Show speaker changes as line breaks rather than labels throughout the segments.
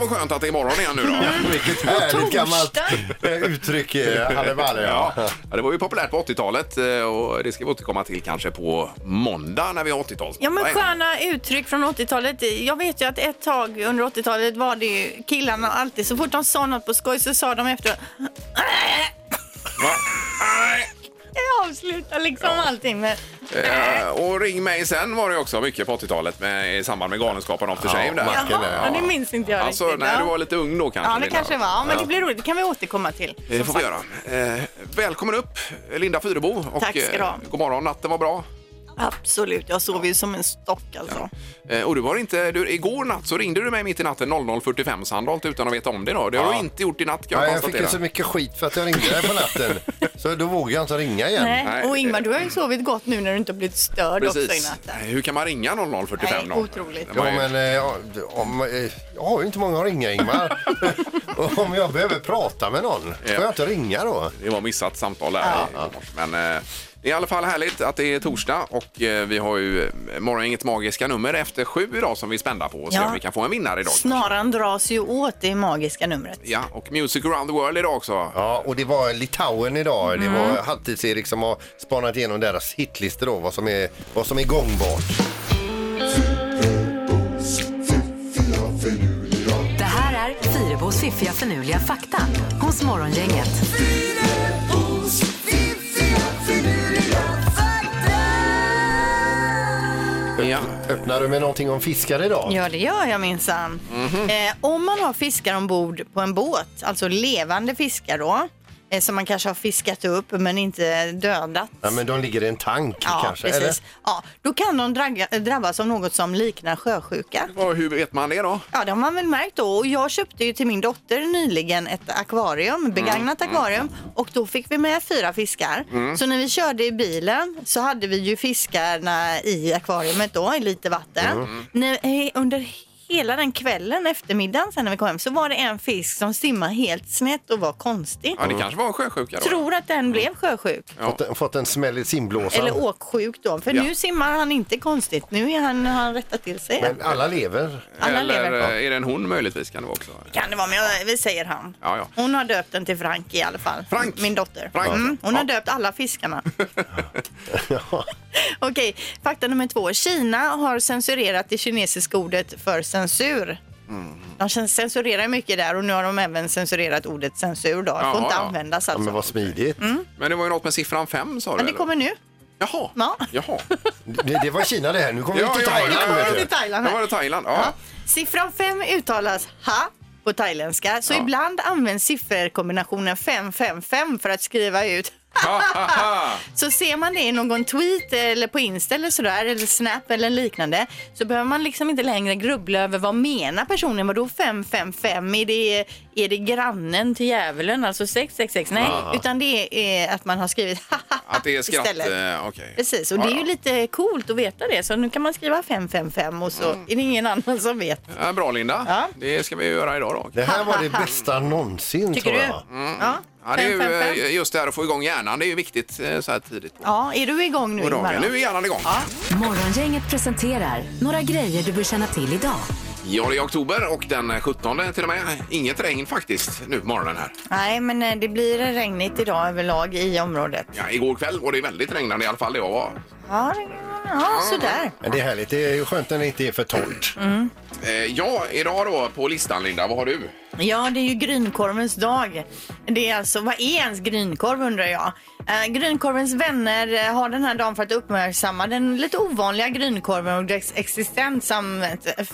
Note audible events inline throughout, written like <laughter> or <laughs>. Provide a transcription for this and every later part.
vad skönt att det är imorgon igen nu då.
Vilket härligt
torsdag.
gammalt eh, uttryck, eh, Halle Berg,
Ja,
ja.
Ja, det var ju populärt på 80-talet eh, och det ska vi återkomma till kanske på måndag när vi har 80-tal.
Ja men
Nej.
sköna uttryck från 80-talet. Jag vet ju att ett tag under 80-talet var det ju killarna alltid så fort de sa något på skoj så sa de efter <laughs>
Va? Nej.
Jag avslutar liksom allting med
Eh, och ring mig sen var det också mycket på 80-talet med, i samband med Galenskaparna After
Ja,
Shave. där.
Mackan
Jaha, ja, det minns inte jag
Alltså,
riktigt.
nej,
Ja.
du var lite ung då kanske.
Ja det
Linda.
kanske var. Ja, men det blir roligt. Det kan vi återkomma till.
Det får vi göra. Eh, välkommen upp, Linda Fyrebo. Och,
Tack ska du ha.
eh, God morgon, natten var bra.
Absolut. Jag sover ju som en stock alltså.
Eh, och du var inte, du, igår natt så ringde du mig mitt i natten 00.45 Sandholt utan att veta om det. Då. Det har
Ja.
du inte gjort i natt kan
Ja,
jag
jag fick ju
konstatera.
så mycket skit för att jag ringde dig på natten. Så då vågade jag inte ringa igen.
Nej.
Nej.
Och Ingmar, du har ju sovit gott nu när du inte har blivit störd också i
Precis.
natten.
Eh, Hur kan man ringa 00.45
Nej,
då?
otroligt.
Det
Ja,
var ju-
men eh, ja, om, eh, jag har ju inte många att ringa, Ingmar. Och om jag behöver prata med någon, får jag inte ringa då?
Det var missat samtal där i morse. Men eh, det är i alla fall härligt att det är torsdag och eh, vi har ju eh, morgongängets magiska nummer efter sju idag som vi är spända på och ser
Ja.
om vi kan få en vinnare idag.
Snaran dras ju åt det magiska numret.
Ja, och Music around the world idag också.
Ja, och det var Litauen idag. Det var Halvtids-Erik som har spanat igenom deras hitlistor då, vad som är, vad som är gångbart.
Det här är Fyrabos fiffiga förnuliga fakta hos Morgongänget.
Ja.
Öppnar du med någonting om fiskar idag?
Ja, det gör jag minsann.
Mhm.
Eh, om man har fiskar ombord på en båt, alltså levande fiskar då, eh, som man kanske har fiskat upp men inte dödat.
Ja, men de ligger i en tank kanske, eller?
Ja, då kan de dragga, eh, drabbas av något som liknar sjösjuka.
Och hur vet man det då?
Ja, det har man väl märkt då. Och jag köpte ju till min dotter nyligen ett
Mm.
akvarium, begagnat akvarium. Och då fick vi med fyra fiskar.
Mm.
Så när vi körde i bilen så hade vi ju fiskarna i akvariumet då, i lite vatten.
Mm.
När- eh, under hela den kvällen, eftermiddagen sen när vi kom hem, så var det en fisk som simmade helt snett och var konstig.
Ja, Mm. det kanske var en sjösjuka då.
Tror att den blev sjösjuk.
Ja.
Fått, en- fått en smäll i simblåsan.
Eller åksjuk då, för
Ja.
nu simmar han inte konstigt. Nu är han, har han rättat till sig.
Men alla lever.
alla
Eller
lever.
eh, är det en hon möjligtvis kan det vara också?
kan det vara, men jag, vi säger han.
Ja, ja.
Hon har döpt den till Frank i alla fall.
Frank.
Min dotter.
Frank.
Mm, hon har
Ja.
döpt
<laughs>
alla fiskarna. <laughs> Okej, fakta nummer två. Kina har censurerat det kinesiska ordet för censur.
Mm.
De cen- censurerar mycket där och nu har de även censurerat ordet censur. Då. Det
Jaha,
får inte
ja.
användas
Ja,
alltså.
men vad smidigt.
Men det var ju något med siffran fem sa du?
Men det
eller?
kommer nu.
Jaha.
Ja.
Jahan.
Det, det var Kina det här. Nu kommer vi till Thailand.
ja,
vet
ja.
du.
till Thailand
Då
här.
var det Thailand.
Ja.
Ja.
Siffran 5 uttalas ha på thailändska. Så
Ja.
ibland används sifferkombinationen 555 för att skriva ut
Ha, ha, ha.
Så ser man det i någon tweet eller på Insta eller sådär, eller Snap eller liknande, så behöver man liksom inte längre grubbla över vad menar personen? Vadå 555? Är det, är det grannen till djävulen, alltså 666? Nej, utan det är att man har skrivit <laughs>
Att det är skratt.
istället.
eh, Okej.
Precis, och det är
Ja,
ju
ja.
lite coolt att veta det. Så nu kan man skriva 555 och så
Mm.
är det ingen annan som vet.
Ja, bra Linda.
Ja.
Det ska vi göra idag då.
Det här var det bästa någonsin
Tycker
tror
du? Mm.
jag.
Ja,
Ja, det är ju
555.
eh, just det här att få igång hjärnan. Det är ju viktigt eh, så här tidigt på
Ja, är du igång nu
på
Ingmar?
dagen. Nu är hjärnan igång. Ja.
Morgongänget presenterar några grejer du bör känna till idag.
det är oktober och den 17 till och med. Inget regn faktiskt nu på morgonen här.
Nej, men eh, det blir regnigt idag överlag i området.
Ja, igår kväll var det väldigt regnande i alla fall där jag var.
Ja, det- ja sådär.
Men det är härligt. Det är ju skönt när det inte är för torrt.
Mm.
Eh, ja, idag då på listan Linda, vad har du?
Ja, det är ju grynkorvens dag. Det är alltså, vad är ens grynkorv undrar jag? Eh, grynkorvens vänner eh, har den här dagen för att uppmärksamma den lite ovanliga grynkorven och dess existens samt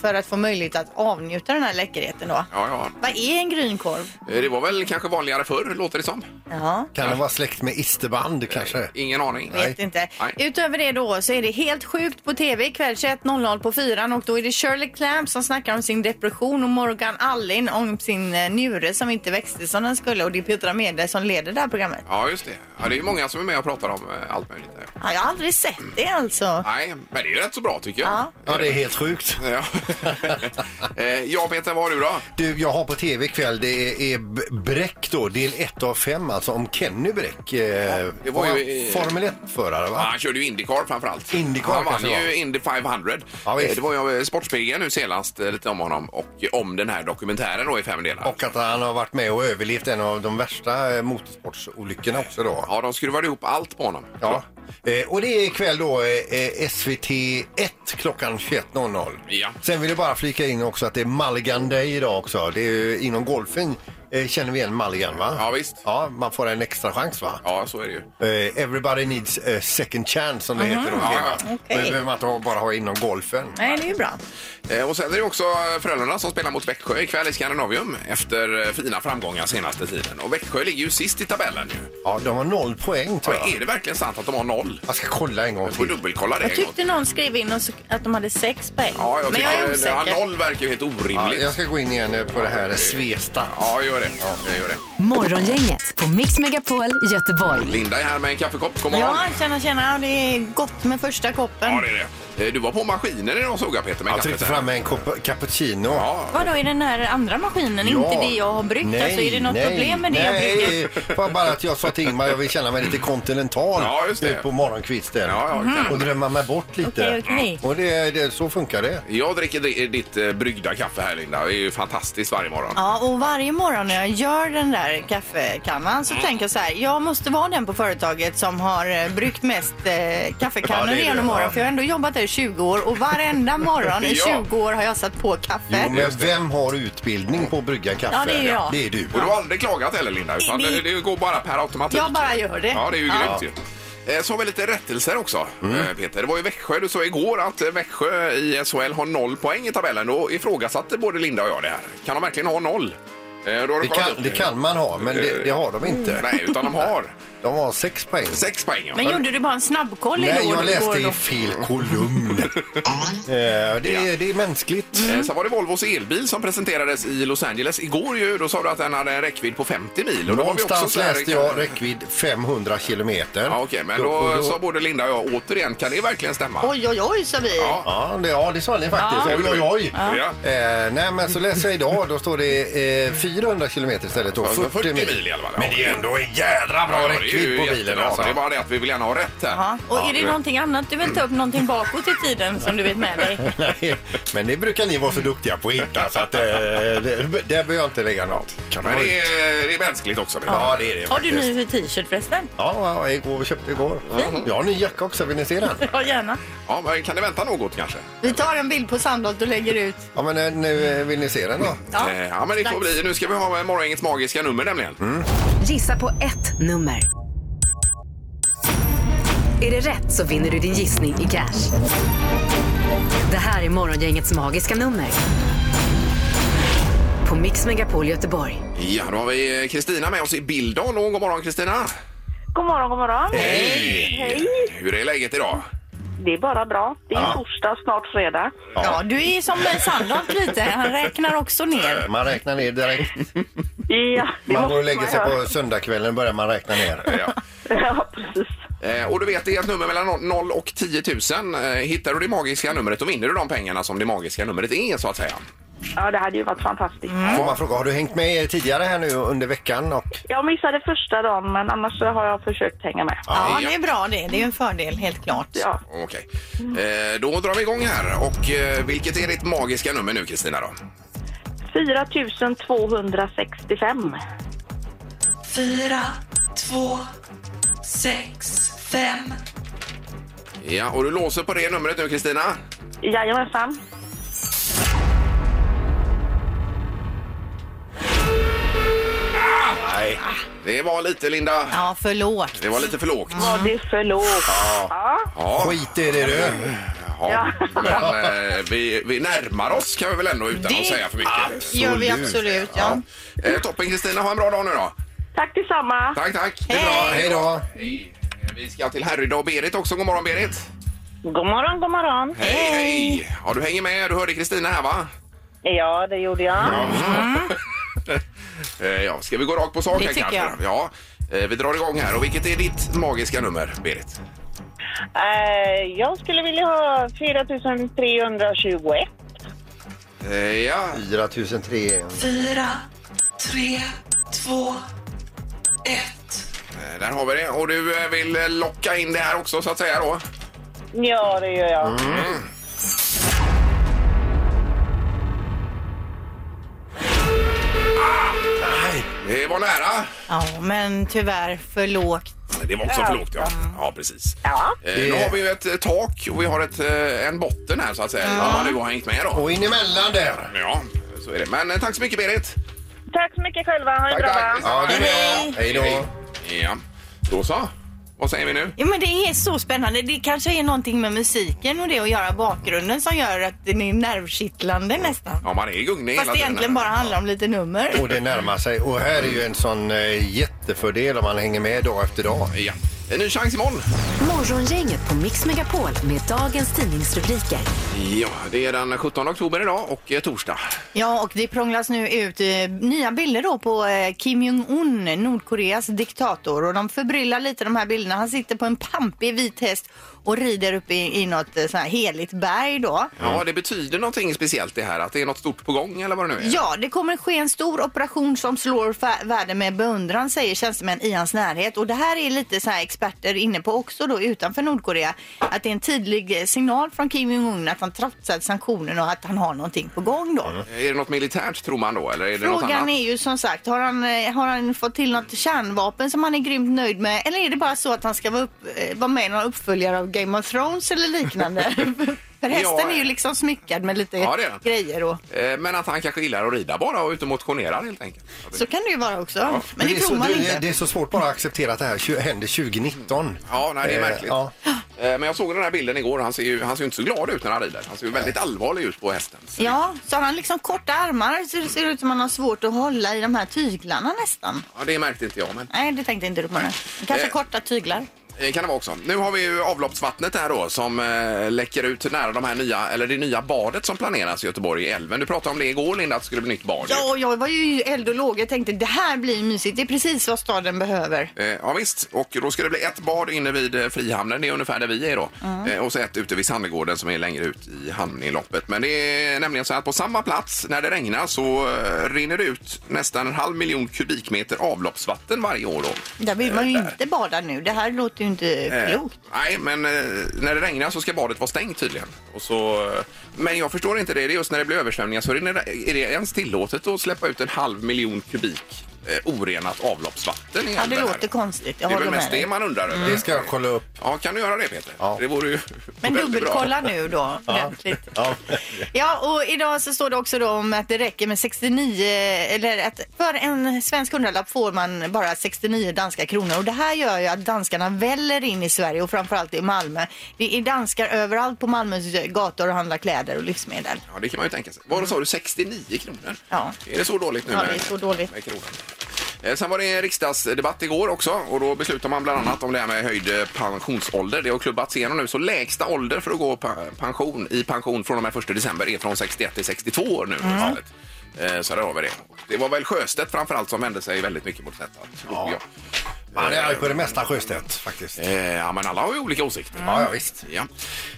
för att få möjlighet att avnjuta den här läckerheten då.
Ja, ja.
Vad är en grynkorv?
Eh, Det var väl kanske vanligare förr, låter det som.
Ja.
Kan det vara släkt med isterband kanske?
Ingen aning.
Vet inte.
Nej.
Utöver det då så är det helt sjukt på tv ikväll 21.00 på fyran och då är det Shirley Clamp som snackar om sin depression och Morgan Allin om sin eh, njure som inte växte som den skulle och det är Petra Mede som leder det här programmet.
Ja, just det. Ja, det är ju många som är med och pratar om eh, allt möjligt. där.
Ja, jag har aldrig sett det alltså.
Nej, men det är rätt så bra tycker jag.
Ja.
Ja, det är helt sjukt.
Ja. <laughs> Eh, ja, Peter, vad har du då?
Du, jag har på tv ikväll, det är B- Bräck då, del 1 av 5 alltså om Kenny Bräck. Eh,
det var ju-
en Formel 1-förare
Ja,
va?
han körde ju Indycar framförallt.
Indycar
han vann
kanske det var.
ju Indy 500.
Ja, visst.
Eh, det var ju eh, Sportspegeln nu senast eh, lite om honom och om den här dokumentären då i fem delar.
Och att han har varit med och överlevt en av de värsta eh, motorsportsolyckorna också då.
Ja, de skruvade ihop allt på honom.
Ja. Eh, och det är ikväll då eh, eh, SVT 1 klockan 21.00.
Ja.
Sen vill jag bara flika in också att det är Mulligan Day idag också. Det är ju inom golfen eh, känner vi igen Mulligan va?
Ja, visst.
Ja, man får en extra chans va?
Ja, så är det ju.
Eh, Everybody needs a second chance som det heter. då.
Ja, ja.
Det behöver man inte ha- bara ha inom golfen.
Nej, det är ju bra.
Eh, Och sen är det ju också eh, Frölunda som spelar mot Växjö ikväll i Scandinavium efter eh, fina framgångar senaste tiden. Och Växjö ligger ju sist i tabellen ju.
Ja, de har noll poäng tror
Ja. Är
jag.
det verkligen sant att de har noll?
Jag ska kolla en gång
Jag får
till.
dubbelkolla det.
Jag tyckte någon skrev in och så- att de hade sex poäng.
Ja, jag
Men jag är
tycker det. Ja,
osäker.
noll verkar ju helt
Ja,
orimligt.
jag ska gå in igen eh, på det här Svesta.
Ja, gör det. Jag gör det.
Morgongänget på Mix Megapol Göteborg.
Linda är här med en kaffekopp. God morgon.
Ja, tjena, tjena. Ja, Det är gott med första koppen.
Ja, det är det. Eh, Du var på maskinen idag såg jag Peter med
Jag tryckte
här.
fram en kopp cappuccino.
Ja,
Vadå, är den här andra maskinen inte det jag har bryggt? alltså, är det något problem med det jag
nej.
brygger?
Det var bara att jag sa till Ingmar jag vill känna mig lite kontinental
Ja, just det.
nu på morgonkvisten.
Ja, ja, kanon.
Och drömma mig bort lite.
Okej, okej.
Och det, det, så funkar det.
jag dricker di- ditt eh, bryggda kaffe här Linda. Det är ju fantastiskt varje morgon.
Ja, och varje morgon när jag gör den där kaffekannan
Mm.
så tänker jag så här, jag måste vara den på företaget som har eh, bryggt mest eh,
Ja, det
kaffekannor
är du,
genom
ja.
åren. För jag har ändå jobbat där i 20 år och varenda
<laughs>
morgon i
Ja.
20 år har jag satt på
Jo,
kaffe.
men vem har utbildning på att brygga kaffe?
Ja, det är jag.
Det är du.
Och du har aldrig klagat heller Linda, utan det,
Det-
det går bara per automatik.
Jag bara gör det.
Ja, det är ju grymt ju. Eh, Så har vi lite rättelser också,
Mm.
eh, Peter. Det var ju Växjö, du sa igår att eh, Växjö i SHL har noll poäng i tabellen. Då ifrågasatte både Linda och jag det här. Kan de verkligen ha noll? Eh, Då har
Det
du kollat
kan,
upp
det kan man ha, men det, det har de inte.
Mm. Nej, utan de har
De har sex poäng.
sex poäng. ja.
Men gjorde du bara en snabbkoll
Nej,
igår?
jag läste
igår då?
i fel
<laughs>
kolumn. Eh, det, är, det är mänskligt.
Eh, Sen var det Volvos elbil som presenterades i Los Angeles igår ju. Då sa du att den hade en räckvidd på 50 mil. Och då var vi också
Någonstans
så här-
läste jag räckvidd 500 kilometer.
Ja, Okej, men då, sa både Linda och jag återigen, kan det verkligen stämma?
Oj, oj, oj, sa vi.
Ja.
Ja, det, ja, det sa ni faktiskt.
Ja.
Oj, oj, oj.
Ja.
Eh, nej, men så läser jag idag. Då står det eh, 400 kilometer istället. Då,
Ja,
40,
40
mil.
mil i alla fall.
Men det är ändå en jädra bra
Ja, det är ju
räckvidd på bilen.
jättebra.
Alltså.
Det är bara det att vi vill gärna ha rätt här.
Ja. Och är det någonting annat du vill ta upp, någonting bakåt i tiden som du vet med dig?
<laughs> Nej, men det brukar ni vara så duktiga på att hitta. Så att, eh, det, det behöver jag inte lägga något.
Men det är, det är mänskligt också. Linda.
Ja, det är det
Har du
faktiskt.
ny t-shirt förresten? <laughs>
Ja, ja, jag gick och köpte igår. Jag har en ny jacka också. Vill ni se den?
Ja, gärna.
Ja, men kan det vänta något kanske?
Vi tar en bild på Sandholt och lägger ut.
Ja, men eh, nu eh, vill ni se den då?
Ja.
Eh, ja men det får
Dags.
bli. Nu ska vi ha morgongängets magiska nummer nämligen.
Mm.
Gissa på ett nummer. Är det rätt så vinner du din gissning i cash. Det här är Morgongängets magiska nummer. På Mix Megapol Göteborg.
Ja, då har vi Kristina med oss i Billdal. Och God morgon Kristina!
God morgon, god morgon.
Hej! Hur är läget idag?
Det är bara bra. Det är torsdag, snart fredag.
Ja, du är som Sandholt lite. Han räknar också ner.
Man räknar ner direkt.
Ja, det
Man
måste
går och lägger sig
göra.
på söndagskvällen börjar man räkna ner.
Ja.
<laughs> Ja, precis.
Eh, och du vet, det är ett nummer mellan 0 och 10 000. Eh, hittar du det magiska numret, då vinner du de pengarna som det magiska numret är, så att säga.
Ja, det hade ju varit fantastiskt.
Får man fråga, har du hängt med tidigare här nu under veckan? Och
Jag missade första dagen, men annars så har jag försökt hänga med.
Alltså.
Ja, det är bra det. Det är en fördel, helt klart.
Ja,
Okej. Eh, då drar vi igång här. Och eh, vilket är ditt magiska nummer nu, Kristina? då?
4 265.
fyra, två, sex, fem.
Ja, och du låser på det numret nu, Kristina?
Jajamensan.
Nej. Det var lite, Linda.
Ja, förlåt.
Det var lite för lågt.
Var det för lågt? Ja.
Ja,
skit i det du.
ja. men eh, vi, vi närmar oss kan vi väl ändå utan
Det-
att säga för mycket.
gör vi absolut, ja.
Eh, toppen, Kristina. Ha en bra dag nu då.
<laughs> Tack detsamma.
Tack, tack.
Hej.
Det är bra.
Hej då.
Hej. Eh, Vi ska till Härryda och Berit också. God morgon, Berit.
God morgon, god morgon.
Hej, hej! Ja, du hänger med. Du hörde Kristina här, va?
Ja, det gjorde jag.
Eh, ja, ska vi gå rakt på sak
Det
här
tycker
kanske? Ja, eh, vi drar igång här. Och vilket är ditt magiska nummer, Berit?
Eh, jag skulle vilja ha 4321.
Eh, ja,
4003.
fyra, tre, två, ett.
eh, där har vi det. Och du eh, vill eh, locka in det här också så att säga då?
Ja, det gör jag.
Mm.
Det var nära.
Ja, men tyvärr för lågt.
Det var också för lågt, ja. Ja, precis.
Ja.
Eh, nu har vi ju ett eh, tak och vi har ett, eh, en botten här så att säga. Ja. Du har hängt med då.
Och in emellan där.
Ja, så är det. Men eh, tack så mycket Berit.
Tack så mycket själva. Ha det bra. va?
Ja, det är
Hej.
bra. Hej då.
Ja, då så. Vad säger vi nu?
Ja, men det är så spännande. Det kanske är någonting med musiken och det att göra bakgrunden som gör att den är nervkittlande nästan.
Ja, man är i gungning
Fast
hela
det
tiden.
egentligen bara handlar om lite nummer.
Och det närmar sig. Och här är ju en sån eh, jättefördel om man hänger med dag efter dag.
Ja. En ny chans imorgon.
Morgongänget på Mix Megapol med dagens tidningsrubriker.
Ja, det är den 17 oktober idag och eh, torsdag.
Ja, och det prånglas nu ut eh, nya bilder då på eh, Kim Jong-Un, Nordkoreas diktator. Och de förbryllar lite de här bilderna. Han sitter på en pampig vit häst och rider upp i, i något eh, sån här heligt berg då.
Ja, det betyder någonting speciellt det här, att det är något stort på gång eller vad det nu är.
Ja, det kommer ske en stor operation som slår fa- världen med beundran säger tjänstemän i hans närhet. Och det här är lite så här experter inne på också då utanför Nordkorea. Att det är en tydlig eh, signal från Kim Jong-Un att han trotsat sanktionerna och att han har någonting på gång då.
Är det något militärt tror man då, eller är Mm, det något
Frågan
annat?
är ju som sagt, har han, eh, har han fått till något kärnvapen som han är grymt nöjd med? Eller är det bara så att han ska vara, upp, eh, vara med i någon uppföljare av Game of Thrones eller
<laughs>
liknande? För hästen
Ja.
är ju liksom smyckad med lite
Ja, det är den.
grejer och
Eh, Men att han kanske gillar att rida bara och ut och motionera helt enkelt.
så kan det ju vara också. Men
Men
det,
är
tror
så,
man
det,
inte.
Det är så svårt bara att acceptera att det här tju- händer 2019.
Ja, nej, det är
Eh,
märkligt.
ja.
Eh, Men jag såg den här bilden igår. Han ser ju, han ser ju inte så glad ut när han rider. Han ser ju väldigt allvarlig ut på hästen.
Ja, så har han liksom korta armar så det ser ut som han har svårt att hålla i de här tyglarna nästan.
Ja, det märkte inte jag, men
Nej, det tänkte inte du på nu. Kanske
Eh.
korta tyglar.
eh, kan det vara också. Nu har vi ju avloppsvattnet här då som eh, läcker ut nära de här nya, eller det nya badet som planeras i Göteborg i älven. Du pratade om det igår, Linda, att det skulle bli nytt bad. ju.
Ja, jag var ju eld och låg. Jag tänkte det här blir ju mysigt. Det är precis vad staden behöver.
Eh, Ja visst, och då ska det bli ett bad inne vid eh, Frihamnen, det är ungefär där vi är då. Eh, Och så ett ute vid Sandegården som är längre ut i hamninloppet. Men det är nämligen så att på samma plats när det regnar så eh, rinner det ut nästan en halv miljon kubikmeter avloppsvatten varje år då.
Där vill man ju inte bada nu. Det här låter ju inte
Eh,
klokt.
Nej, men eh, när det regnar så ska badet vara stängt tydligen. Och så, eh, men jag förstår inte det. Det är just när det blir översvämningar så är det, är det ens tillåtet att släppa ut en halv miljon kubik eh, orenat avloppsvatten i
Ja,
älven
det
här.
låter konstigt. Jag
Det är
håller
väl
med
mest det
dig.
man undrar över.
Mm. Det ska jag kolla upp.
Ja, kan du göra det Peter?
Ja.
Det vore ju
Men
väldigt bra.
dubbelkolla nu då ordentligt.
Ja.
Ja, och idag så står det också då om att det räcker med 69, eller att för en svensk hundralapp får man bara 69 danska kronor. Och det här gör ju att danskarna väller in i Sverige och framförallt i Malmö. Det är danskar överallt på Malmös gator och handlar kläder och livsmedel.
Ja, det kan man ju tänka sig. Vad sa du, 69 kronor?
Mm. Ja.
Är det så dåligt nu?
Ja,
med-
det är så dåligt.
Med kronan? Eh, Sen var det en riksdagsdebatt igår också och då beslutade man bland annat om det här med höjd eh, pensionsålder. Det har klubbats igenom nu, så lägsta ålder för att gå pa- pension, i pension från och med 1 december är från 61 till 62 år nu.
Mm.
istället. Eh, Så där har vi det. Det var väl Sjöstedt framförallt som vände sig väldigt mycket mot detta. Ja. Jag.
Man är arg på det mesta Sjöstedt faktiskt.
Eh, Ja, men alla har ju olika åsikter.
Mm.
Ja, ja, visst.
Ja.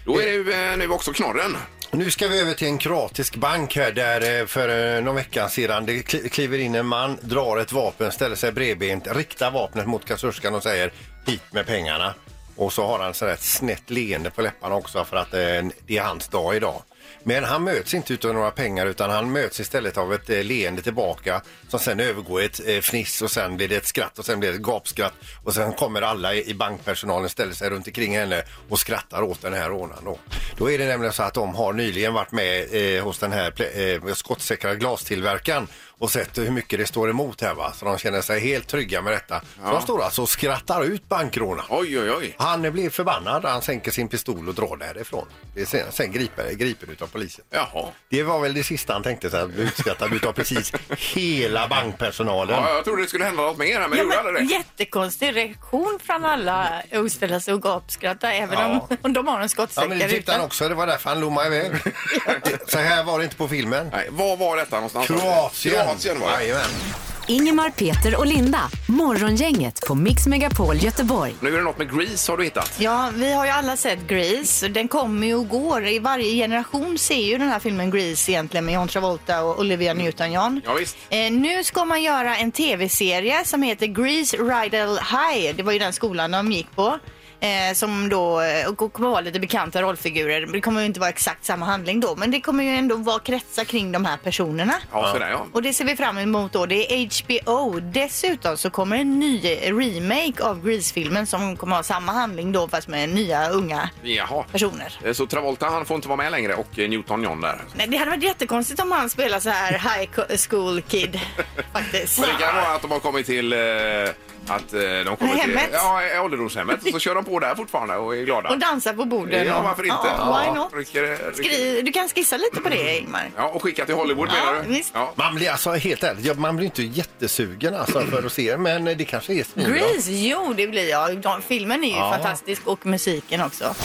Då är det ju eh, nu också knorren.
Nu ska vi över till en kroatisk bank här där eh, för eh, någon vecka sedan det kli- kliver in en man, drar ett vapen, ställer sig bredbent, riktar vapnet mot kassörskan och säger hit med pengarna. Och så har han sådär ett snett leende på läpparna också för att eh, det är hans dag idag. Men han möts inte utav några pengar utan han möts istället av ett eh, leende tillbaka som sen övergår i ett eh, fniss och sen blir det ett skratt och sen blir det ett gapskratt och sen kommer alla i i bankpersonalen ställer sig runt omkring henne och skrattar åt den här rånaren då. Då är det nämligen så att de har nyligen varit med eh, hos den här ple- eh, skottsäkra glastillverkaren och sett hur mycket det står emot här va. Så de känner sig helt trygga med detta. Så de står alltså och skrattar ut bankrånaren.
Oj, oj, oj.
Han blir förbannad, han sänker sin pistol och drar därifrån. Det är sen, sen griper, griper utav polisen.
Jaha.
Det var väl det sista han tänkte sig, att bli utskattad utav precis hela bankpersonalen.
Ja, jag trodde det skulle hända något mer här, men
Ja,
gjorde aldrig
men,
det.
jättekonstig reaktion från alla att ställa sig och gapskratta även om, om de har en
Ja,
skottsäker
men det tyckte han
utan.
också. Det var därför han lommade iväg. Så här var det inte på filmen.
Nej, var var detta någonstans?
Kroatien.
Kroatien var det.
Jajamän.
Ingemar, Peter och Linda. Morgongänget på Mix Megapol Göteborg.
Nu är det något med Grease har du hittat.
Ja, vi har ju alla sett Grease. Den kommer ju och går. I varje generation ser ju den här filmen Grease egentligen med John Travolta och Olivia Newton-John.
Ja, visst.
Eh, nu ska man göra en tv-serie som heter Grease Rydell High. Det var ju den skolan de gick på. Eh, som då eh, och kommer vara lite bekanta rollfigurer. Det kommer ju inte vara exakt samma handling då, men det kommer ju ändå vara kretsar kring de här personerna.
Ja, sådär ja.
Och det ser vi fram emot då. Det är HBO. Dessutom så kommer en ny remake av Grease-filmen som kommer ha samma handling då fast med nya unga
Jaha.
personer.
Eh, Så Travolta han får inte vara med längre och eh, Newton John där.
Nej, det hade varit jättekonstigt om han spelar så här high co- school
<laughs>
kid faktiskt.
Men det kan vara att de har kommit till eh, att eh, de kommer
Hemmet?
till ja, eh, ålderdomshemmet och så kör de på där fortfarande och är glada.
Och dansa på borden.
Ja,
och-
varför inte?
Ja, why not?
Rycker, eh, rycker.
Skri- du kan skissa lite på det, Ingmar.
Ja, och skicka till Hollywood
Ja,
menar du?
visst.
Ja.
Man blir alltså helt ärligt, ja, man blir inte jättesugen alltså för att se men det kanske är svinbra.
Grease, jo det blir jag. De- Filmen är ju
Ja.
fantastisk och musiken också.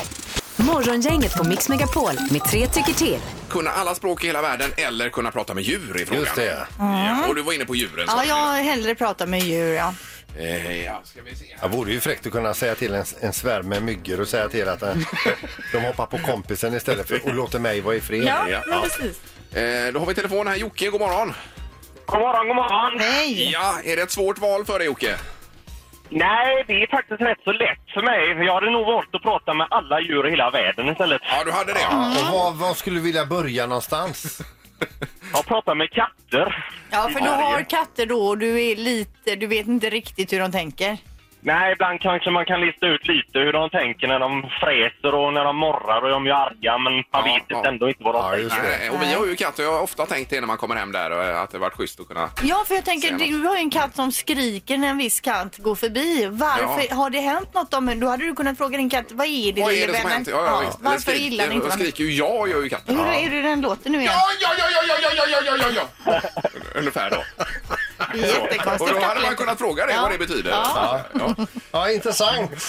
Morgongänget på Mix Megapol med tre tycker till.
Kunna alla språk i hela världen eller kunna prata med djur i frågan.
Just det.
Ja, och du var inne på djuren. sa
Mm. Ja,
du.
jag hellre pratar med djur. Ja.
Eh, ja, ska vi se.
Det vore ju fräckt att kunna säga till en, en svärm med myggor och säga till att eh, de hoppar på kompisen istället för och låter mig vara i fred.
Ja.
men precis.
Eh, då har vi telefon här. Jocke, god morgon.
God morgon, god morgon.
Nej.
Ja, är det ett svårt val för dig Jocke?
Nej, det är faktiskt rätt så lätt för mig. För jag hade nog valt att prata med alla djur i hela världen istället.
Ja, du hade det. Ja.
Och var, var skulle du vilja börja någonstans?
Jag pratar med katter.
Ja, för
I
du
Sverige.
har katter då och du är lite, du vet inte riktigt hur de tänker.
Nej, ibland kanske man kan lista ut lite hur de tänker när de fräser och när de morrar och de är arga. Men man vet
ja.
ändå inte vad de
Ja,
tänker.
just det.
Nej, Och vi har ju katt och jag har ofta tänkt det när man kommer hem där eh, att det varit schysst att kunna...
Ja, för jag tänker,
Ser man.
du har ju en katt som skriker när en viss katt går förbi. Varför
Ja.
har det hänt något om Då hade du kunnat fråga din katt, vad är det
Vad är
lille
det som
vännen?
har hänt? Ja, ja, visst. Eller
Varför
skriker-
gillar ni inte varandra?
skriker ju jag, gör ju katten.
Hur
Ja,
är det den låter nu igen?
ja, ja, ja, ja, ja, ja, ja, ja, ja, ja. Ungefär då.
Det är
Och
jättekonstigt.
då hade man kunnat fråga dig
Ja.
vad det betyder.
Ja.
Ja.
Ja, intressant.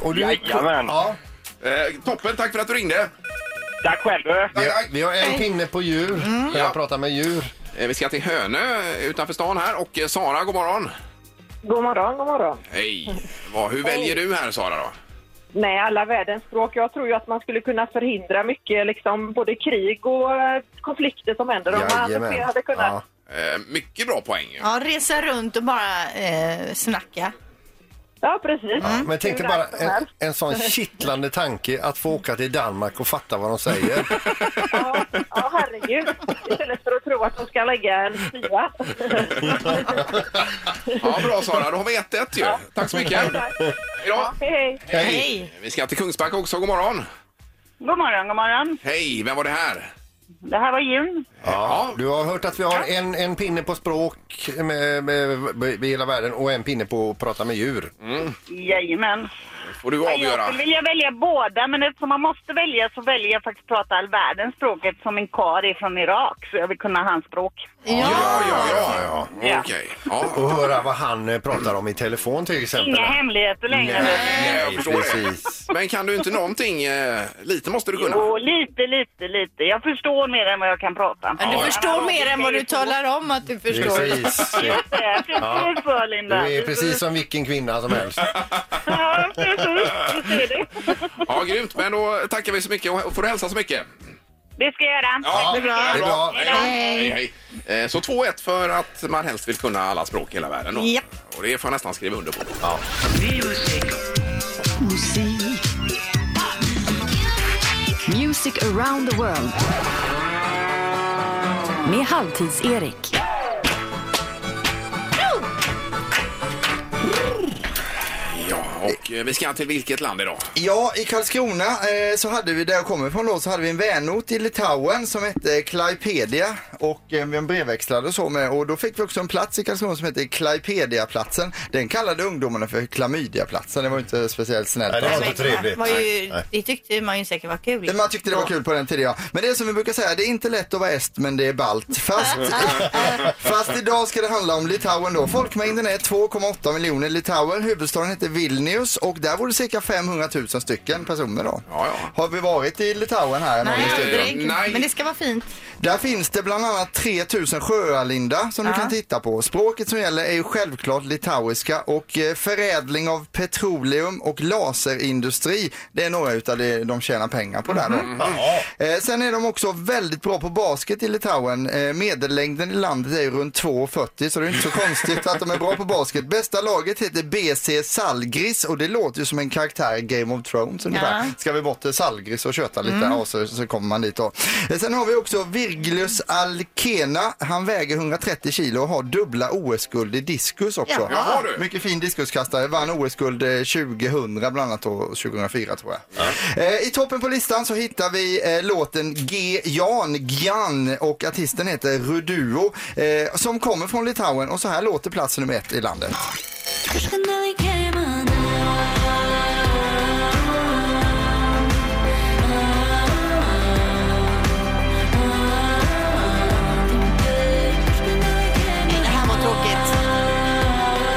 Och du,
Jajamän.
Ja,
Eh, toppen, tack för att du ringde.
Tack själv. du.
vi, har, vi har en pinne på djur.
Mm.
Jag pratar med djur.
Eh, vi ska till Hönö utanför stan här och eh, Sara, god morgon.
God morgon, god morgon.
Hej! Vad, hur väljer du här Sara då?
Nej, alla världens språk. Jag tror ju att man skulle kunna förhindra mycket, liksom både krig och eh, konflikter som händer om man
Jajamän.
hade kunnat.
Ja.
Eh, mycket bra poäng. ju.
Ja, resa runt och bara eh, snacka.
Ja, precis.
Ja, Men tänk dig
Hur
bara
nice som
en,
helst.
en sån kittlande tanke att få åka till Danmark och fatta vad de säger.
Ja, ja, herregud. Istället för att tro att de ska lägga en tia.
Ja, bra Sara, då har vi 1-1 ju. Tack så mycket. Ja.
Hej, hej.
Hej!
Vi ska till Kungsbacka också, god morgon.
God morgon, god morgon.
Hej, vem var det här?
Det här var Jun.
Ja, du har hört att vi har en, en pinne på språk med, med, med hela världen och en pinne på att prata med djur.
Jajamän.
Får du
Jag
avgöra.
skulle vilja välja båda, men eftersom man måste välja så väljer jag faktiskt att prata all världens språket som en kar är från Irak, så jag vill kunna hans språk.
Ja,
Ja,
ja, ja.
Ja.
Okej. Ja.
Och höra vad han eh, pratar om i telefon till exempel.
Inga hemligheter längre.
Nej, jag förstår
precis.
det. Men kan du inte någonting? Eh, lite måste du kunna.
Jo, lite, lite, lite. Jag förstår mer än vad jag kan prata.
Men du förstår mer än vad du talar om att du förstår.
Precis.
Just det, precis så
Du
Linda.
är precis som vilken kvinna som
<laughs>
helst.
Ja, precis. Du ser det.
Ja, grymt. Men då tackar vi så mycket och får du hälsa så mycket.
Det ska jag göra.
det är bra. Det är bra.
Hej, då. hej. hej. Eh, Så 2-1 för att man helst vill kunna alla språk i hela världen. Då.
Japp.
Och det får jag nästan skriva under på.
Music around the world. Med Halvtids-Erik.
Ja, och eh, vi ska till vilket land idag?
Ja, i Karlskrona eh, så hade vi, där jag kommer ifrån då, så hade vi en vänort i Litauen som hette Klaipedia och eh, vi brevväxlade och så med och då fick vi också en plats i Karlskrona som hette Klaipedia-platsen. Den kallade ungdomarna för Klamydia-platsen, det var ju inte speciellt snällt.
Nej, det var
alltså.
inte trevligt.
Var ju,
Nej.
det tyckte man ju säkert var
Men
kul.
Man tyckte det var kul på den tiden ja. Men det är som vi brukar säga, det är inte lätt att vara est men det är balt. Fast,
<laughs>
fast idag ska det handla om Litauen då. Folkmängden är 2,8 miljoner litauer. Huvudstaden heter Vilnius och där bor det cirka 500 000 stycken personer då.
Ja, ja.
Har vi varit i Litauen här? någon
Nej,
i studion?
aldrig.
Nej.
Men det ska vara fint.
Där finns det bland annat 3000 sjöar, Linda, som
Ja.
du kan titta på. Språket som gäller är ju självklart litauiska och eh, förädling av petroleum och laserindustri. Det är några utav det de tjänar pengar på där då.
Mhm.
Ja.
Eh, sen är de också väldigt bra på basket i Litauen. Eh, medellängden i landet är ju runt 2,40 så det är inte så konstigt att de är bra på basket. Bästa laget heter BC Salgris och det låter ju som en karaktär i Game of Thrones ungefär.
Ja.
Ska vi bort till Salgris och köta lite ja, så, så kommer man dit då. Eh, sen har vi också Virgilius Alkena. Han väger 130 kilo och har dubbla OS-guld i diskus också.
Ja.
Jaha, du.
Mycket fin diskuskastare. Vann OS-guld eh, 2000 bland annat och 2004 tror jag. Eh, I toppen på listan så hittar vi eh, låten G. Jan Gjan och artisten heter Ruduo eh, som kommer från Litauen och så här låter plats nummer ett i landet.
Det här var tråkigt.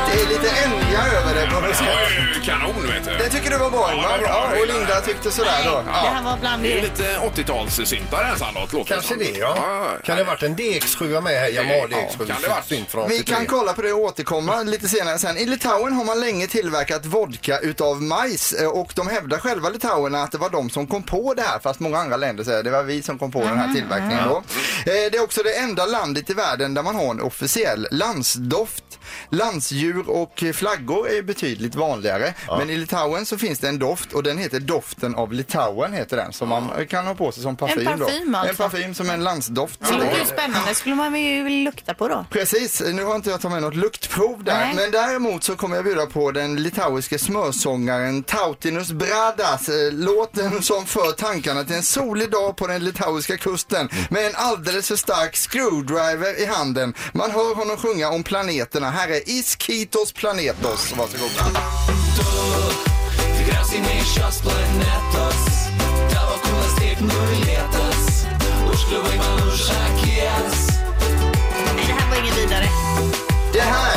Det är lite änja över det på
Men det
musik.
var ju kanon, vet du.
Det tycker du var bra
det var
Ingvar?
bra,
Ja, och
Linda.
Linda tyckte sådär då.
Det här var bland
Det är
det.
lite 80-talssyntar här, Sandholt. låter
Kanske
som.
det, ja. Kan det ha varit en DX7 med här? Yamaha DX7.
kan det ha varit.
Synt från
Vi
83.
kan kolla på det och återkomma lite senare sen. I Litauen har man länge tillverkat vodka utav majs eh, och de hävdar själva litauerna att det var de som kom på det här fast många andra länder säger att det var vi som kom på den
Mm-hmm,
här tillverkningen då. Eh, Det är också det enda landet i världen där man har en officiell landsdoft. Landsdjur och flaggor är betydligt vanligare men i Litauen så finns det en doft och den heter doften av Litauen heter den som man kan ha på sig som parfym då.
parfym alltså.
En parfym som en landsdoft.
Det låter ju spännande. skulle man ju lukta på då.
Precis, nu har inte jag tagit med något luktprov där.
Nej.
Men däremot så kommer jag bjuda på den litauiske smörsångaren Tautinus Bradas. eh, Låten som för tankarna till en solig dag på den litauiska kusten med en alldeles för stark screwdriver i handen. Man hör honom sjunga om planeterna. Här är Iskitos Planetos. Varsågoda.
Nej, det här var inget vidare.
Det här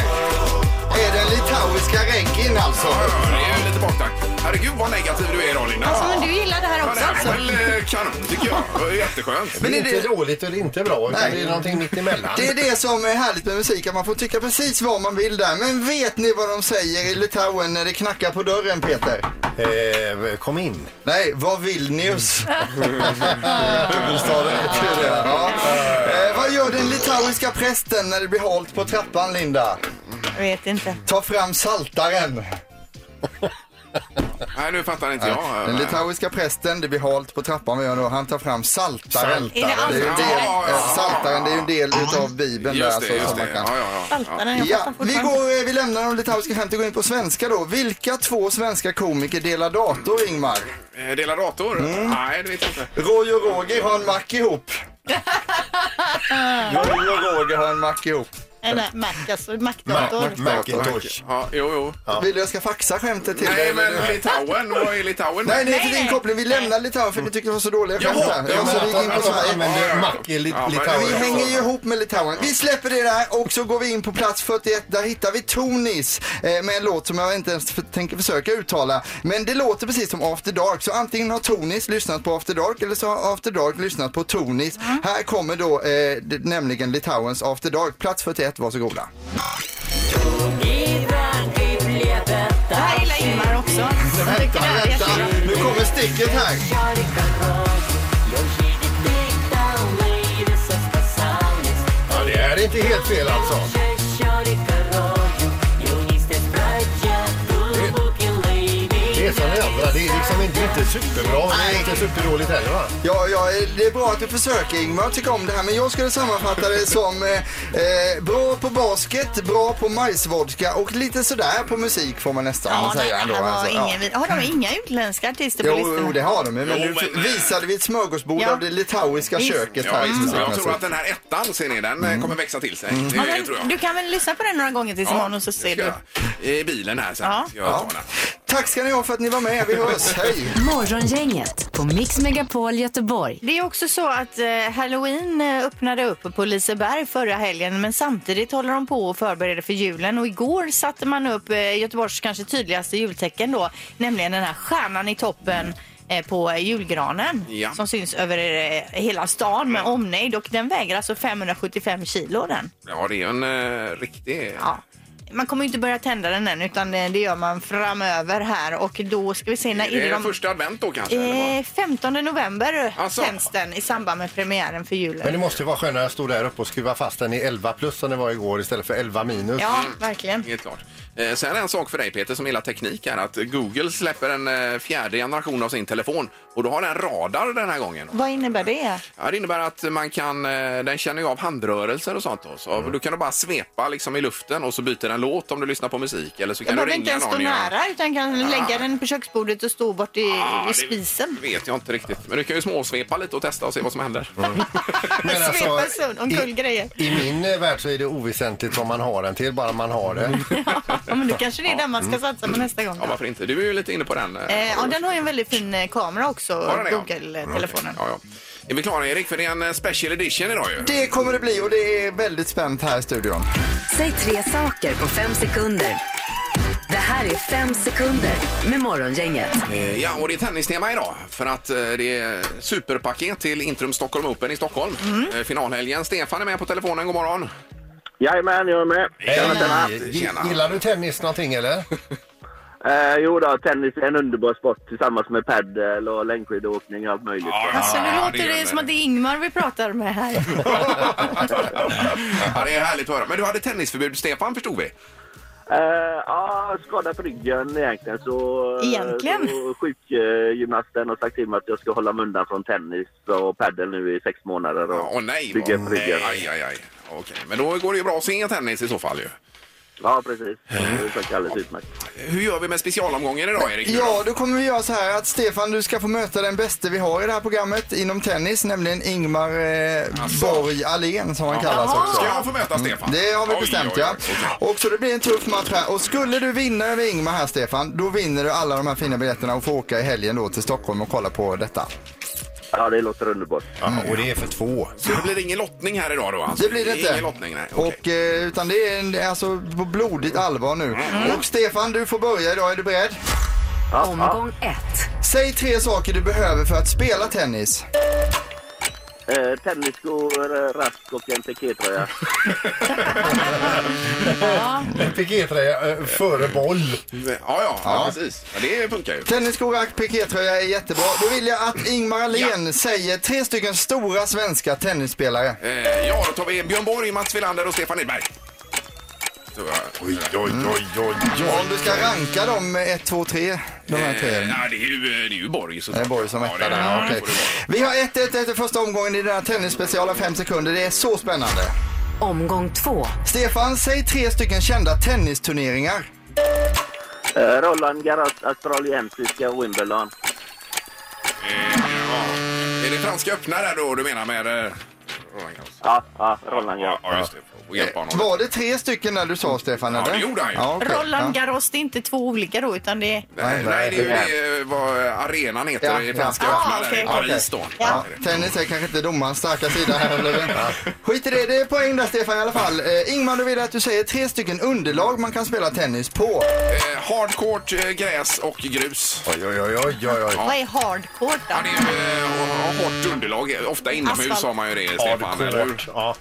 är den litauiska reggaen alltså.
Ja, ja, det är ju lite baktakt. Herregud, vad negativ du är idag, Linda.
Alltså, men du gillar det här
Ja, det
också
här
alltså?
var väl eh, kanon, tycker jag. Det var Jätteskönt.
Men
Det
är
är
det-
inte dåligt och det är inte bra. Utan
Nej.
det är någonting mitt emellan.
Det är det som är härligt med musik, att man får tycka precis vad man vill där. Men vet ni vad de säger i Litauen när det knackar på dörren, Peter?
Eh, kom in.
Nej, vad Vilnius? <laughs> Huvudstaden heter det. Ja. Eh, vad gör den litauiska prästen när det blir halt på trappan, Linda?
Jag vet inte.
Ta fram saltaren.
Nej, nu fattar inte jag.
Den litauiska prästen, det blir halt på trappan, vad gör han då? Han tar fram saltaren.
Salt.
Är det
Det är ju en
allt?
del,
Ja, ja,
eh, saltaren, det är ju en del utav Bibeln där.
Just
alltså,
det,
som
just
man
det. Ja,
kan-
ja, ja. ja.
Saltaren, jag
Ja,
fattar
vi,
fortfarande.
går, eh, vi lämnar de litauiska skämten och går in på svenska då. Vilka två svenska komiker delar dator, Ingmar?
Eh, Dela dator? Nej, det vet jag inte.
Roy och Roger har en
<laughs>
mack ihop. Roy och Roger har en mack ihop.
Nej, nej, Mac, alltså Mac-dator.
Macintosh.
Ja, jo, jo.
Vill du jag ska faxa skämtet till dig?
Nej, men
eller?
Litauen, vad är Litauen?
Nej, det är
Nej,
inte din
nej.
koppling. Vi lämnar Litauen för ni tyckte det var så dåliga
Mm. Jaha,
skämt här.
ja,
Ja, så
men
vi gick in på Sverige.
använder mack i li-
Ja, men-
Vi
Litauen.
hänger ju ihop med Litauen. Vi släpper det där och så går vi in på plats 41. Där hittar vi Tonis eh, med en låt som jag inte ens för, tänker försöka uttala. Men det låter precis som After Dark. Så antingen har Tonis lyssnat på After Dark eller så har After Dark lyssnat på Tonis. Här kommer då eh, d- nämligen Litauens After Dark. Plats 41, varsågoda.
Det här gillar Ingmar också. Jag tycker det här är jättebra.
nu kommer sticket här.
Ja, det här är inte helt fel alltså. Det- Det är som det andra. Det är liksom inte, inte superbra, men det är inte superdåligt heller va?
Ja, ja, det är bra att du försöker Ingmar, jag tycker om det här. Men jag skulle sammanfatta det som eh, eh, bra på basket, bra på majsvodka och lite sådär på musik får man nästan
Ja, nej,
säga.
det
ändå,
här var
alltså, ja.
ingen vid- Har de inga utländska artister på
Jo, jo, det
listan?
har de ju. Men
Jo,
nu
men-
visade vi ett smörgåsbord
Ja.
av det litauiska
Visst. Mm.
köket
Ja,
här.
visst.
Mm.
Jag tror att den här ettan, ser ni, den eh, kommer växa till sig. Det,
Ja,
tror
men
jag.
du kan väl lyssna på den några gånger tills imorgon och så
det
ser
ska
du.
jag. I bilen här sen.
Ja.
ska Jag ta den här.
Tack ska ni ha för att ni var med. Vi hörs.
<laughs>
Hej!
Morgongänget på Mix Megapol Göteborg.
Det är också så att eh, Halloween eh, öppnade upp på Liseberg förra helgen men samtidigt håller de på och förbereder för julen och igår satte man upp eh, Göteborgs kanske tydligaste jultecken då, nämligen den här stjärnan i toppen eh, på eh, julgranen
Ja.
som syns över eh, hela stan med omnejd och den väger alltså 575 kilo den.
Ja, det är ju en eh, riktig...
Ja. Man kommer ju inte börja tända den än utan eh, det gör man framöver här och då ska vi se när
Är det
är det de...
första advent då kanske? eller vad?
Eh, 15 november
Alltså.
tänds den i samband med premiären för julen.
Men det måste ju vara skönare att stå där uppe och skruva fast den i 11 plus som det var igår istället för 11 minus.
Ja,
Mm.
verkligen.
Helt klart. Eh, Sen en sak för dig Peter som gillar teknik här att Google släpper en eh, fjärde generation av sin telefon och då har den radar den här gången.
Vad innebär det?
Ja, det innebär att man kan, eh, den känner ju av handrörelser och sånt då. Så
Mm.
Du kan då bara svepa liksom i luften och så byter den låt om du lyssnar på musik eller så
Jag
kan du
behöver inte
ringa
ens stå
någon. i-
nära utan kan lägga den på köksbordet och stå bort i,
Ja,
i
det
spisen.
vet jag inte riktigt. Men du kan ju småsvepa lite och testa och se vad som händer.
Men alltså,
Svepa sund omkull grejer.
i, I min eh, värld så är det oväsentligt vad man har den till, bara man har det.
Ja, men då kanske det är den man ska satsa på nästa gång.
Mm. Ja,
Då.
varför inte? Du är ju lite inne på den. eh,
Eh, ja, den har ju en väldigt fin eh, kamera också,
den det, ja?
Google-telefonen.
Ja, ja. Är vi klara Erik? För det är en eh, special edition idag ju.
Det kommer det bli och det är väldigt spänt här i studion.
Säg tre saker på fem sekunder. Det här är fem sekunder med Morgongänget.
Eh, Ja, och det är tennistema idag för att eh, det är superpaket till Intrum Stockholm Open i Stockholm. Mm. Finalhelgen. Stefan är med på telefonen. God morgon.
Jajamän, jag är med.
G- Gillar du tennis någonting eller?
Eh, jo då, tennis är en underbar sport tillsammans med padel och längdskidåkning och allt möjligt.
Alltså, nu låter
gör
det som att det är Ingmar vi pratar med här.
<laughs> ja, det är härligt att höra. Men du hade tennisförbud, Stefan, förstod vi.
Eh, ja, skada för ryggen egentligen så... eh,
Egentligen?
så Sjukgymnasten har sagt till mig att jag ska hålla mig undan från tennis och padel nu i sex månader.
Ja,
Och
Åh nej. vad-
bygga upp ryggen.
Aj, aj, aj. Okej, men då går det ju bra att se tennis i så fall ju.
Ja, precis. Det funkar alldeles utmärkt.
Hur gör vi med specialomgången idag, Erik?
Ja, då kommer vi göra så här att Stefan, du ska få möta den bäste vi har i det här programmet inom tennis, nämligen Ingmar eh,
Alltså.
Borg Allén som han kallas
Jaha.
också. Mm,
Ska jag få möta Stefan?
Det har vi
Oj,
bestämt
oj, oj.
ja. Och så det blir en tuff match här. Och skulle du vinna över Ingmar här Stefan, då vinner du alla de här fina biljetterna och får åka i helgen då till Stockholm och kolla på detta.
Ja, det låter underbart.
Ja, och det är för två.
Så det blir ingen lottning här idag då? Alltså.
Det blir det inte.
Ingen lottning, nej. Okej. Mm.
Och, eh, utan det är en, alltså på blodigt allvar nu. Och Stefan, du får börja idag. Är du beredd?
Omgång ett.
Säg tre saker du behöver för att spela tennis.
Eh, tennisskor, eh, rask och en pikétröja.
Pikéträ eh, före boll.
Ja, ja, ja, precis. Ja, det funkar ju.
Tennisskor och pikétröja är jättebra. Då vill jag att Ingmar Ahlén säger tre stycken stora svenska tennisspelare.
Eh, ja, då tar vi Björn Borg, Mats Wilander och Stefan Edberg. Så, eh,
Oj, oj, oj, oj,
Om du ska ranka dem 1, 2, 3, de här tre.
Eh, ja, det, är ju, eh, det är ju Borg
Det är Borg som
Ja,
etta
det är-
där.
det
okej.
får det vara.
Vi har 1-1 efter första omgången i den här tennisspecialen 5 sekunder. Det är så spännande.
Omgång två.
Stefan, säg tre stycken kända tennisturneringar.
Eh, Roland Garros, australiensiska Wimbledon.
Eh, ja. Är det franska öppna där då du menar med... eh, Roland Garros?
Ja, ja, Roland
Ja,
Garros.
ja, just det. Får hjälpa honom.
Var det tre stycken när du sa Stefan?
Ja,
Eller?
det gjorde han ju.
okej.
Roland Garros, det är inte två olika då utan det är...
Nej, nej, det är ju det, eh, vad arenan heter
Ja,
i
ja.
franska
Ah,
öppna där
okej.
i Paris då.
Ja, tennis är kanske inte domarens starka sida här eller? Skit i det, det är poäng där Stefan i alla fall. Eh, Ingmar, du vill att du säger tre stycken underlag man kan spela tennis på.
Eh, Hardcourt, eh, gräs och grus.
Oj, oj, oj, oj, oj, oj.
Vad är hardcore då?
Ja, det är ju eh, hårt underlag. Ofta inomhus
Asfalt.
har man ju det, Stefan. eller hur?
Hardcourt. Ja.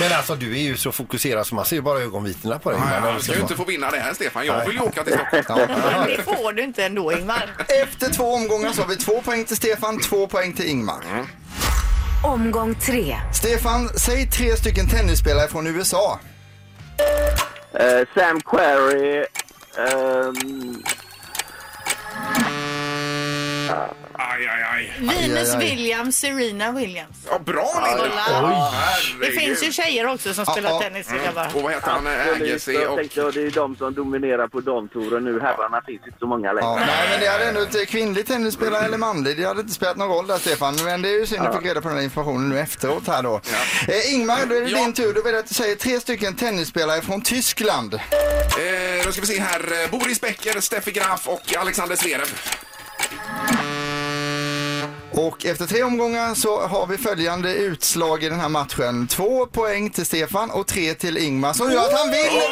Men alltså du är ju så fokuserad så man ser ju bara ögonvitorna på dig.
Nej,
Men-
Han ska ju inte få vinna det här, Stefan. Jag vill ju åka till Stockholm.
Men det får du inte ändå Ingmar.
Efter två omgångar så har vi två poäng till Stefan, två poäng till Ingmar.
Omgång tre.
Stefan, säg tre stycken tennisspelare från USA.
Eh, Sam Querrey. ehm,
Aj, aj, aj.
Venus
aj, aj.
Williams, Serena Williams.
Ja, bra, Linda!
Kolla. Det
Herregud.
finns ju tjejer också som
Ja,
spelar
ja.
tennis. vill jag bara.
Och vad heter han? eh,
Absolut,
Agassi
jag
och...
tänkte att det är de som dominerar på damtouren nu. Herrarna finns inte så många
Ja,
längre.
nej, men det hade ändå inte kvinnlig tennisspelare eller manlig. Det hade inte spelat någon roll där Stefan. Men det är ju synd att du fick reda på den här informationen nu efteråt här då. Eh, Ingmar, då är det
Ja.
din tur. Då vill jag att du säger tre stycken tennisspelare från Tyskland.
Eh, då ska vi se här. Eh, Boris Becker, Steffi Graf och Alexander Zverev.
Och efter tre omgångar så har vi följande utslag i den här matchen. Två poäng till Stefan och tre till Ingmar som gör att han vinner!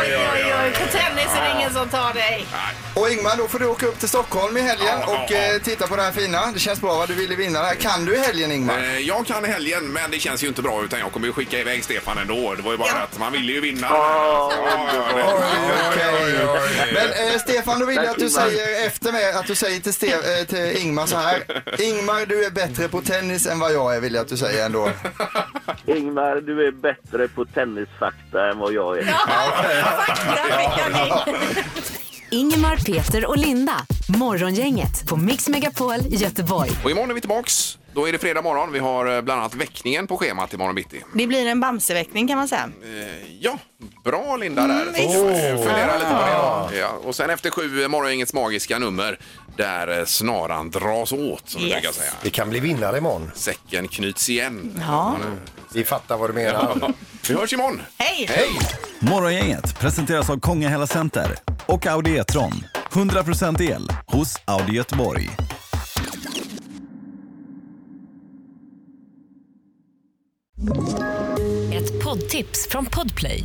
Oj, oj, oj, på tennis så det är ingen som tar dig.
Och Ingmar, då får du åka upp till Stockholm i helgen
Ja, ja,
och
ja.
eh, titta på det här fina. Det känns bra vad du ville vinna det här. Kan du i helgen Ingmar?
Eh, Jag kan i helgen, men det känns ju inte bra utan jag kommer ju skicka iväg Stefan ändå. Det var ju bara att man ville ju vinna.
Ja,
Ja, ja,
Oj,
ja.
okej.
Men,
Men eh, Stefan, då vill jag att du
Tack, Ingmar.
säger efter mig, att du säger till, Ste- eh, till Ingmar
<laughs>
så här. Ingmar, du är bättre på tennis än vad jag är, vill jag att du säger ändå.
Ingmar, du är bättre på tennisfakta än vad jag är.
<laughs>
Ingemar, Peter och Linda. Morgongänget på Mix Megapol Göteborg.
Och imorgon är vi tillbaks. Då är det fredag morgon. Vi har eh, bland annat väckningen på schemat imorgon bitti.
Det blir en bamseväckning kan man säga.
Eh, Ja, bra Linda där.
Mm, visst.
Eh, Fundera lite på det. då. Ja, och sen efter sju, eh, morgongängets magiska nummer där eh, snaran dras åt som vi
Yes.
brukar säga.
vi kan bli vinnare imorgon.
Säcken knyts igen.
Ja.
Vi fattar vad du menar.
<laughs> Vi hörs imorgon.
Hej!
Hej!
Morgongänget presenteras av Kongahälla Center och Audi E-tron. 100% el hos Audi Göteborg.
Ett poddtips från Podplay.